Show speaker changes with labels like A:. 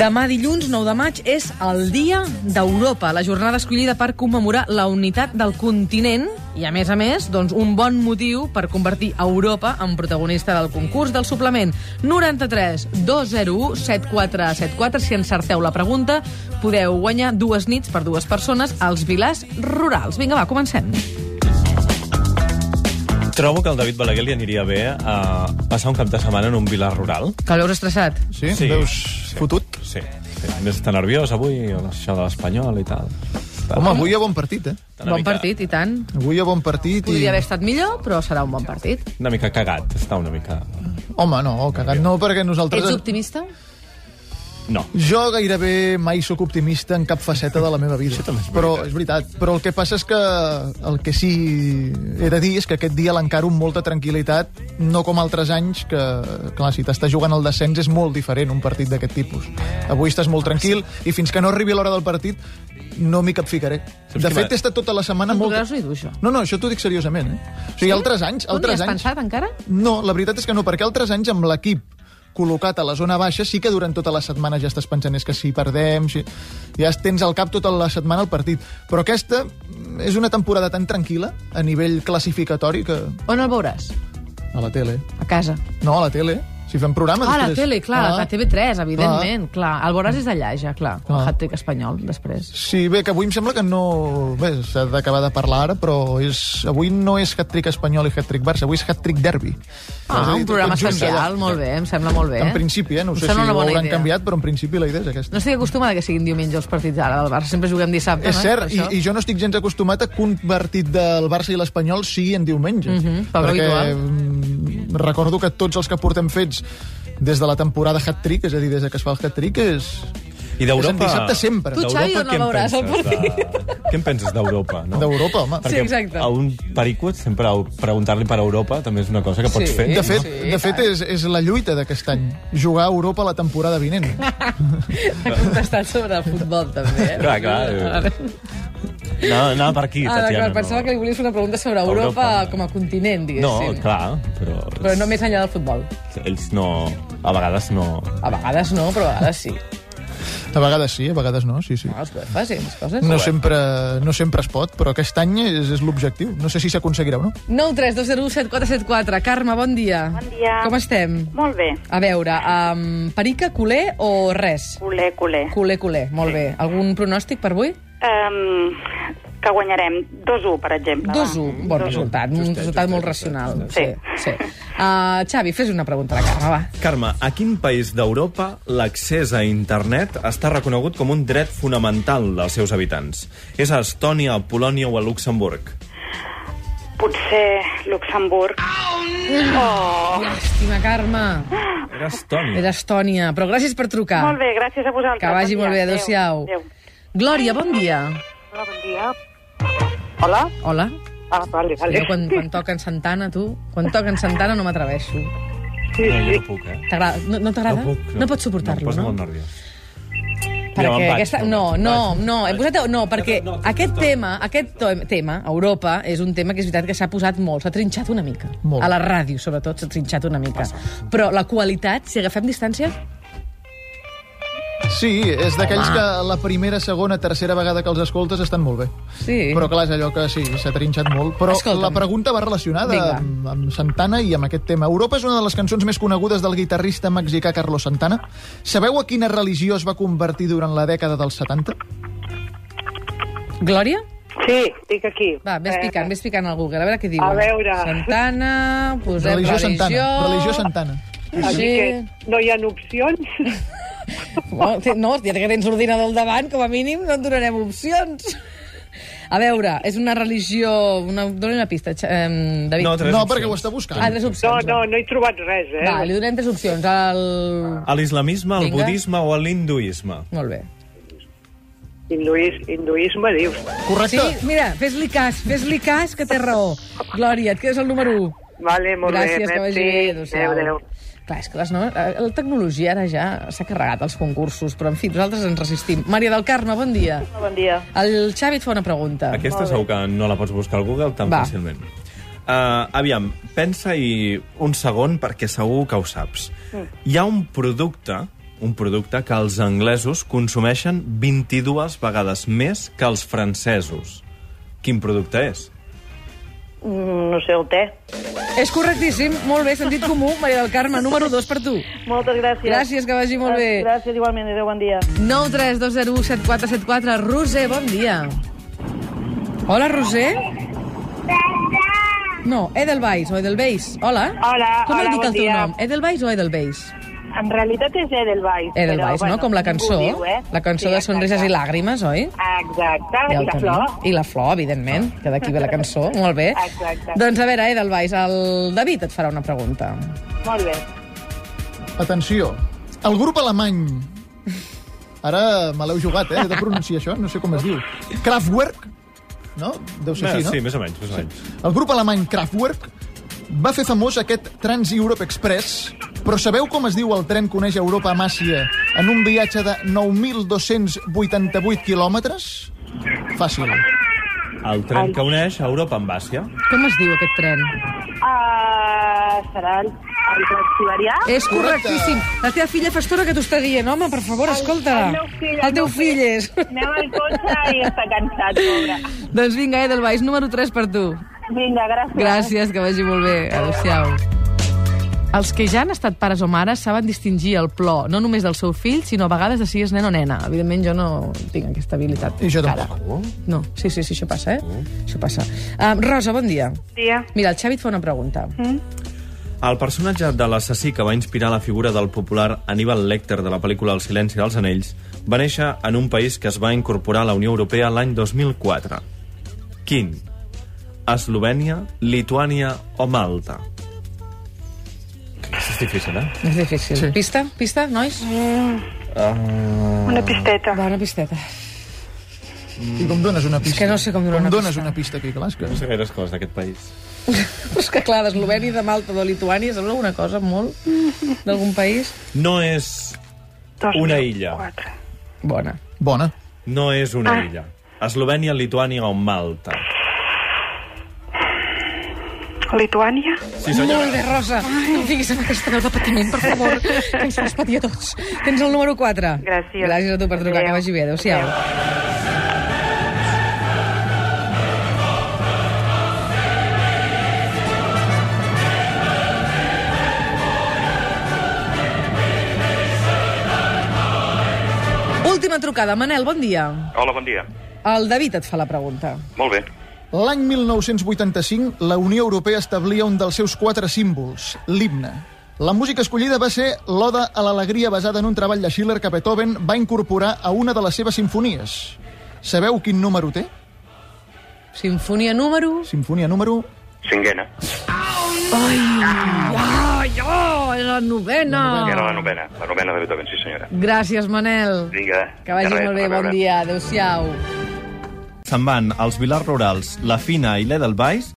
A: Demà dilluns, 9 de maig, és el Dia d'Europa, la jornada escollida per commemorar la unitat del continent i, a més a més, doncs, un bon motiu per convertir Europa en protagonista del concurs del suplement. 93 201 7474. Si encerteu la pregunta, podeu guanyar dues nits per dues persones als vilars rurals. Vinga, va, comencem.
B: Trobo que al David Balaguer li aniria bé a passar un cap de setmana en un vilar rural.
A: Que l'heus estressat.
C: Sí? sí. Veus fotut?
B: Sí. sí. A més, està nerviós avui, això de l'Espanyol i tal. Està
C: Home, avui hi ha bon partit, eh?
B: una
A: Bon
B: mica-
A: partit, i tant.
C: Avui hi ha bon partit i...
A: Podria haver estat millor, però serà un bon partit.
B: Una mica cagat, està una mica...
C: Home, no, cagat no, perquè nosaltres...
A: Ets optimista?
B: No.
C: Jo gairebé mai sóc optimista en cap faceta de la meva vida.
B: també és veritat.
C: però és veritat. Però el que passa és que el que sí he de dir és que aquest dia l'encaro amb molta tranquil·litat, no com altres anys, que, clar, si t'estàs jugant al descens és molt diferent un partit d'aquest tipus. Avui estàs molt tranquil i fins que no arribi l'hora del partit no m'hi capficaré.
B: Saps
C: De
B: què
C: fet,
B: m'ha-
C: he estat tota la setmana
A: No
C: molt...
A: podràs ni dur, això.
C: No, no, això t'ho dic seriosament, eh? O sigui, altres anys...
A: Tu n'hi
C: Altres
A: has
C: anys...
A: pensat, encara?
C: No, la veritat és que no, perquè altres anys amb l'equip col·locat a la zona baixa, sí que durant tota la setmana ja estàs pensant és que si perdem, si... ja tens al cap tota la setmana el partit. Però aquesta mm, és una temporada tan tranquil·la a nivell classificatori que...
A: On el veuràs?
C: A la tele.
A: A casa.
C: No, a la tele. Si fem programa...
A: Ah, a la
C: després. Ah.
A: tele, clar, ah, a TV3, evidentment, clar. El veuràs és allà, ja, clar.
C: Clar.
A: El hat-trick espanyol, després.
C: Ah. Sí, bé, que avui em sembla que no... Bé, s'ha d'acabar de parlar ara, però és... avui no és hat-trick espanyol i hat-trick Barça, avui és hat-trick derbi. És a
A: Ah, un
C: dir, tot
A: programa
C: junts allà.
A: especial, molt bé, em sembla molt bé.
C: En principi, eh? No
A: Em
C: sé si
A: sembla
C: ho
A: una bona
C: hauran
A: idea.
C: canviat, però en principi la idea és aquesta.
A: No estic acostumada que siguin diumenge els partits ara del Barça, sempre juguem dissabte,
C: És
A: no?
C: cert, i,
A: Per això.
C: i jo no estic gens acostumat a que un partit del Barça i l'Espanyol sigui en diumenge.
A: Mhm, però
C: perquè
A: habitual.
C: mm, recordo que tots els que portem fets des de la temporada hat-trick, és a dir, des de que es fa el hat-trick, és...
B: I
C: És en dissabte sempre. Tu,
A: Xavi,
B: d'Europa,
A: on la
B: què en
A: veuràs, el
B: penses De... Què en penses d'Europa? No?
C: D'Europa, home.
A: Sí, exacte.
B: a un perico sempre el- preguntar-li per Europa també és una cosa que pots
A: Sí.
B: fer.
C: De fet,
A: Sí,
C: de fet és, és la lluita d'aquest any, jugar a Europa la temporada vinent.
A: Ha contestat sobre el futbol, també. Eh?
B: Clar, clar. No, anava per aquí,
A: Ah,
B: Tatiana.
A: d'acord, pensava que li volies fer una pregunta sobre Europa,
B: Europa.
A: com a continent,
B: No,
A: diguéssim.
B: clar, però...
A: Però no més enllà del futbol.
B: Ells no... A vegades no...
A: A vegades no, però a vegades sí.
C: A vegades sí, a vegades no, sí, sí.
A: No, els UEFA, sí, les coses.
C: No sempre, no sempre es pot, però aquest any és, és l'objectiu. No sé si s'aconseguirà o no.
A: 9 3 2 0 7 4 7 4. Carme, bon dia.
D: Bon dia.
A: Com estem?
D: Molt bé.
A: A veure, um, perica, culer o res?
D: Culer, culer.
A: Culer, culer, molt bé. Algun pronòstic per avui?
D: Um, que guanyarem 2-1, per exemple.
A: 2-1, bon resultat, un resultat molt racional.
D: justet.
A: sí. sí. Uh, Xavi, fes una pregunta a la Carme, va.
B: Carme, a quin país d'Europa l'accés a internet està reconegut com un dret fonamental dels seus habitants? És a Estònia, a Polònia o a Luxemburg?
D: Potser Luxemburg.
A: Ah.
D: Oh,
A: Llàstima, Carme.
B: Era Estònia.
A: Era Estònia, però gràcies per trucar.
D: Molt bé, gràcies a vosaltres.
A: Que vagi
D: Bon
A: molt
D: dia.
A: bé, adéu-siau.
D: Adéu.
A: Glòria, bon dia.
E: Hola, bon dia. Hola?
A: Hola.
E: Ah, vale, vale.
A: Jo quan, quan toquen Santana, tu, quan toquen Santana no m'atreveixo.
E: Sí,
B: No, jo
E: sí.
B: no puc, eh?
A: T'agrada? No, no t'agrada? no pots
B: no? Em
A: suportar-lo,
B: posa
A: no?
B: molt nerviós.
A: Perquè
B: Mira, me'n vaig,
A: aquesta...
B: me'n
A: No,
B: vaig.
A: no,
B: Vaig.
A: no, he
B: Vaig.
A: posat... No, perquè
B: No, no,
A: aquest
B: no.
A: tema, aquest to- tema, Europa, és un tema que és veritat que s'ha posat molt, s'ha trinxat una mica.
C: Molt.
A: A la ràdio, sobretot, s'ha trinxat una mica. Però la qualitat, si agafem distància...
C: Sí, és d'aquells
A: Ah.
C: que la primera, segona, tercera vegada que els escoltes estan molt bé.
A: Sí.
C: Però clar, és allò que sí, s'ha trinxat molt. Però
A: Escolta'm.
C: la pregunta va relacionada
A: Vinga.
C: amb, amb Santana i amb aquest tema. Europa és una de les cançons més conegudes del guitarrista mexicà Carlos Santana. Sabeu a quina religió es va convertir durant la dècada dels 70?
A: Doncs Glòria?
E: sí, estic aquí.
A: Va, vés
E: Eh,
A: picant, vés picant al Google, a veure què diuen.
E: A veure.
A: Santana, posem
C: religió
A: religió...
C: Santana. Religió Santana.
E: Així
A: Sí.
E: que no hi ha opcions.
A: Bueno, té- no, ja que tens ordinador al davant, com a mínim no et donarem opcions. A veure, és una religió... Una... Dóna una pista, Xa- em, David.
B: No, tres
C: No,
B: opcions.
C: perquè ho està buscant.
A: Ah, tres
E: No,
A: opcions.
E: no, no he trobat res, eh?
A: Va, li donem tres opcions. El...
B: A l'islamisme, al
A: Vinga.
B: budisme o a l'hinduisme?
A: Molt bé.
E: Hinduís, hinduisme, dius.
A: Sí,
C: Correcte?
A: mira, fes-li cas, fes-li cas, que té raó. Glòria, et quedes el número 1.
E: Vale, molt
A: Gràcies,
E: bé,
A: que vagi bé. Adéu,
E: adéu.
A: Clar, és que les no... la tecnologia ara ja s'ha carregat els concursos, però en fi, nosaltres ens resistim. Maria del Carme, bon dia.
F: Bon dia.
A: El Xavi et fa una pregunta.
B: Aquesta segur que no la pots buscar al Google tan
A: Va.
B: fàcilment. Uh, aviam, pensa-hi un segon perquè segur que ho saps. Hi ha un producte un producte que els anglesos consumeixen 22 vegades més que els francesos. Quin producte és?
F: Mm, No sé, el té.
A: És correctíssim, molt bé, sentit comú, Maria del Carme, número 2 per tu.
F: Moltes gràcies.
A: Gràcies, que vagi molt bé.
F: Gràcies, igualment. Adéu, bon dia.
A: 932017474, Roser, bon dia. Hola, Roser. No, Edelweiss o Edelweiss. Hola.
G: Hola,
A: Com
G: hola,
A: dic el
G: bon
A: teu
G: dia.
A: nom? Edelweiss o Edelweiss?
G: En realitat és Edelweiss.
A: Edelweiss,
G: però,
A: no? Com la cançó.
G: ningú ho Diu, eh?
A: La cançó de Sonrises i Làgrimes, oi?
G: Exacte,
A: Ja
G: ja
A: ho
G: i la
A: tenim.
G: flor.
A: I la flor, evidentment, que d'aquí ve la cançó. Molt bé.
G: Exacte.
A: Doncs a veure, Edelweiss, el David et farà una pregunta.
G: Molt bé.
C: Atenció, el grup alemany... Ara me l'heu jugat, eh? He de pronunciar això, no sé com es diu. Kraftwerk? No? Deu ser així, no?
B: Sí, més o menys, més o menys.
C: El grup alemany Kraftwerk va fer famós aquest Trans-Europe Express, però sabeu com es diu el tren que uneix Europa amb Àsia en un viatge de 9.288 quilòmetres? Fàcil.
B: El tren que uneix Europa amb Àsia.
A: Com es diu aquest tren?
D: Ah,
G: Uh, serà el, el transiberià?
A: És
C: Correcte.
A: correctíssim. La teva filla fa estona que t'ho està dient, home, per favor, escolta.
G: el meu fill, el
A: el teu
G: meu
A: fill
G: fill.
A: és.
G: Anem al cotxe i està cansat, pobre.
A: Doncs vinga, Edelweiss, número 3 per tu.
G: Vinga, gràcies.
A: Gràcies, que vagi molt bé. Adéu-siau. Els que ja han estat pares o mares saben distingir el plor, no només del seu fill, sinó a vegades de si és nen o nena. Evidentment, jo no tinc aquesta habilitat.
C: I jo doncs,
A: encara.
C: tampoc.
A: No, sí, sí, sí, això passa, eh? Això passa. Um, Rosa, bon dia.
G: Dia.
A: Mira, el Xavi et fa una pregunta.
B: El personatge de l'assassí que va inspirar la figura del popular Aníbal Lecter de la pel·lícula El silenci dels anells va néixer en un país que es va incorporar a la Unió Europea l'any 2004. Quin? Eslovènia, Lituània o Malta? Això és difícil, eh?
A: És difícil. Sí. Pista? Pista, nois? Eh,
G: Una pisteta.
A: Bona pisteta.
C: I com dones una pista?
A: que no sé com donar una
C: dones
A: pista.
C: una pista aquí, clar, és que...
B: No sé gaires coses d'aquest país.
A: És que clar, d'Eslovènia, de Malta, de Lituània, sembla una cosa molt d'algun país.
B: No és una illa.
A: Bona.
C: Bona.
B: No és una illa. Eslovènia, Lituània o Malta?
D: Lituània?
B: Sí, senyora.
A: Molt bé, Rosa. No em diguis amb aquesta veu de patiment, per favor, que ens fas patir a tots. Tens el número 4.
D: Gràcies.
A: Gràcies a tu per trucar, que
D: Adéu.
A: vagi bé. Adéu-siau. Última trucada. Manel, bon dia.
H: Hola, bon dia.
A: El David et fa la pregunta.
H: Molt bé.
C: L'any 1985, la Unió Europea establia un dels seus quatre símbols, l'himne. La música escollida va ser l'Oda a l'alegria basada en un treball de Schiller que Beethoven va incorporar a una de les seves sinfonies. Sabeu quin número té?
A: Sinfonia número...
C: Sinfonia número...
H: Cinquena.
A: Ah. Ai, oh, és la novena.
H: Era la novena. La novena de Beethoven, sí, senyora.
A: Gràcies, Manel.
H: Vinga.
A: Que vagi
H: de res,
A: molt bé,
H: a
A: bon
H: veure.
A: dia. Adéu-siau.
B: Se'n van als Vilars Rurals, la Fina i l'Edelweiss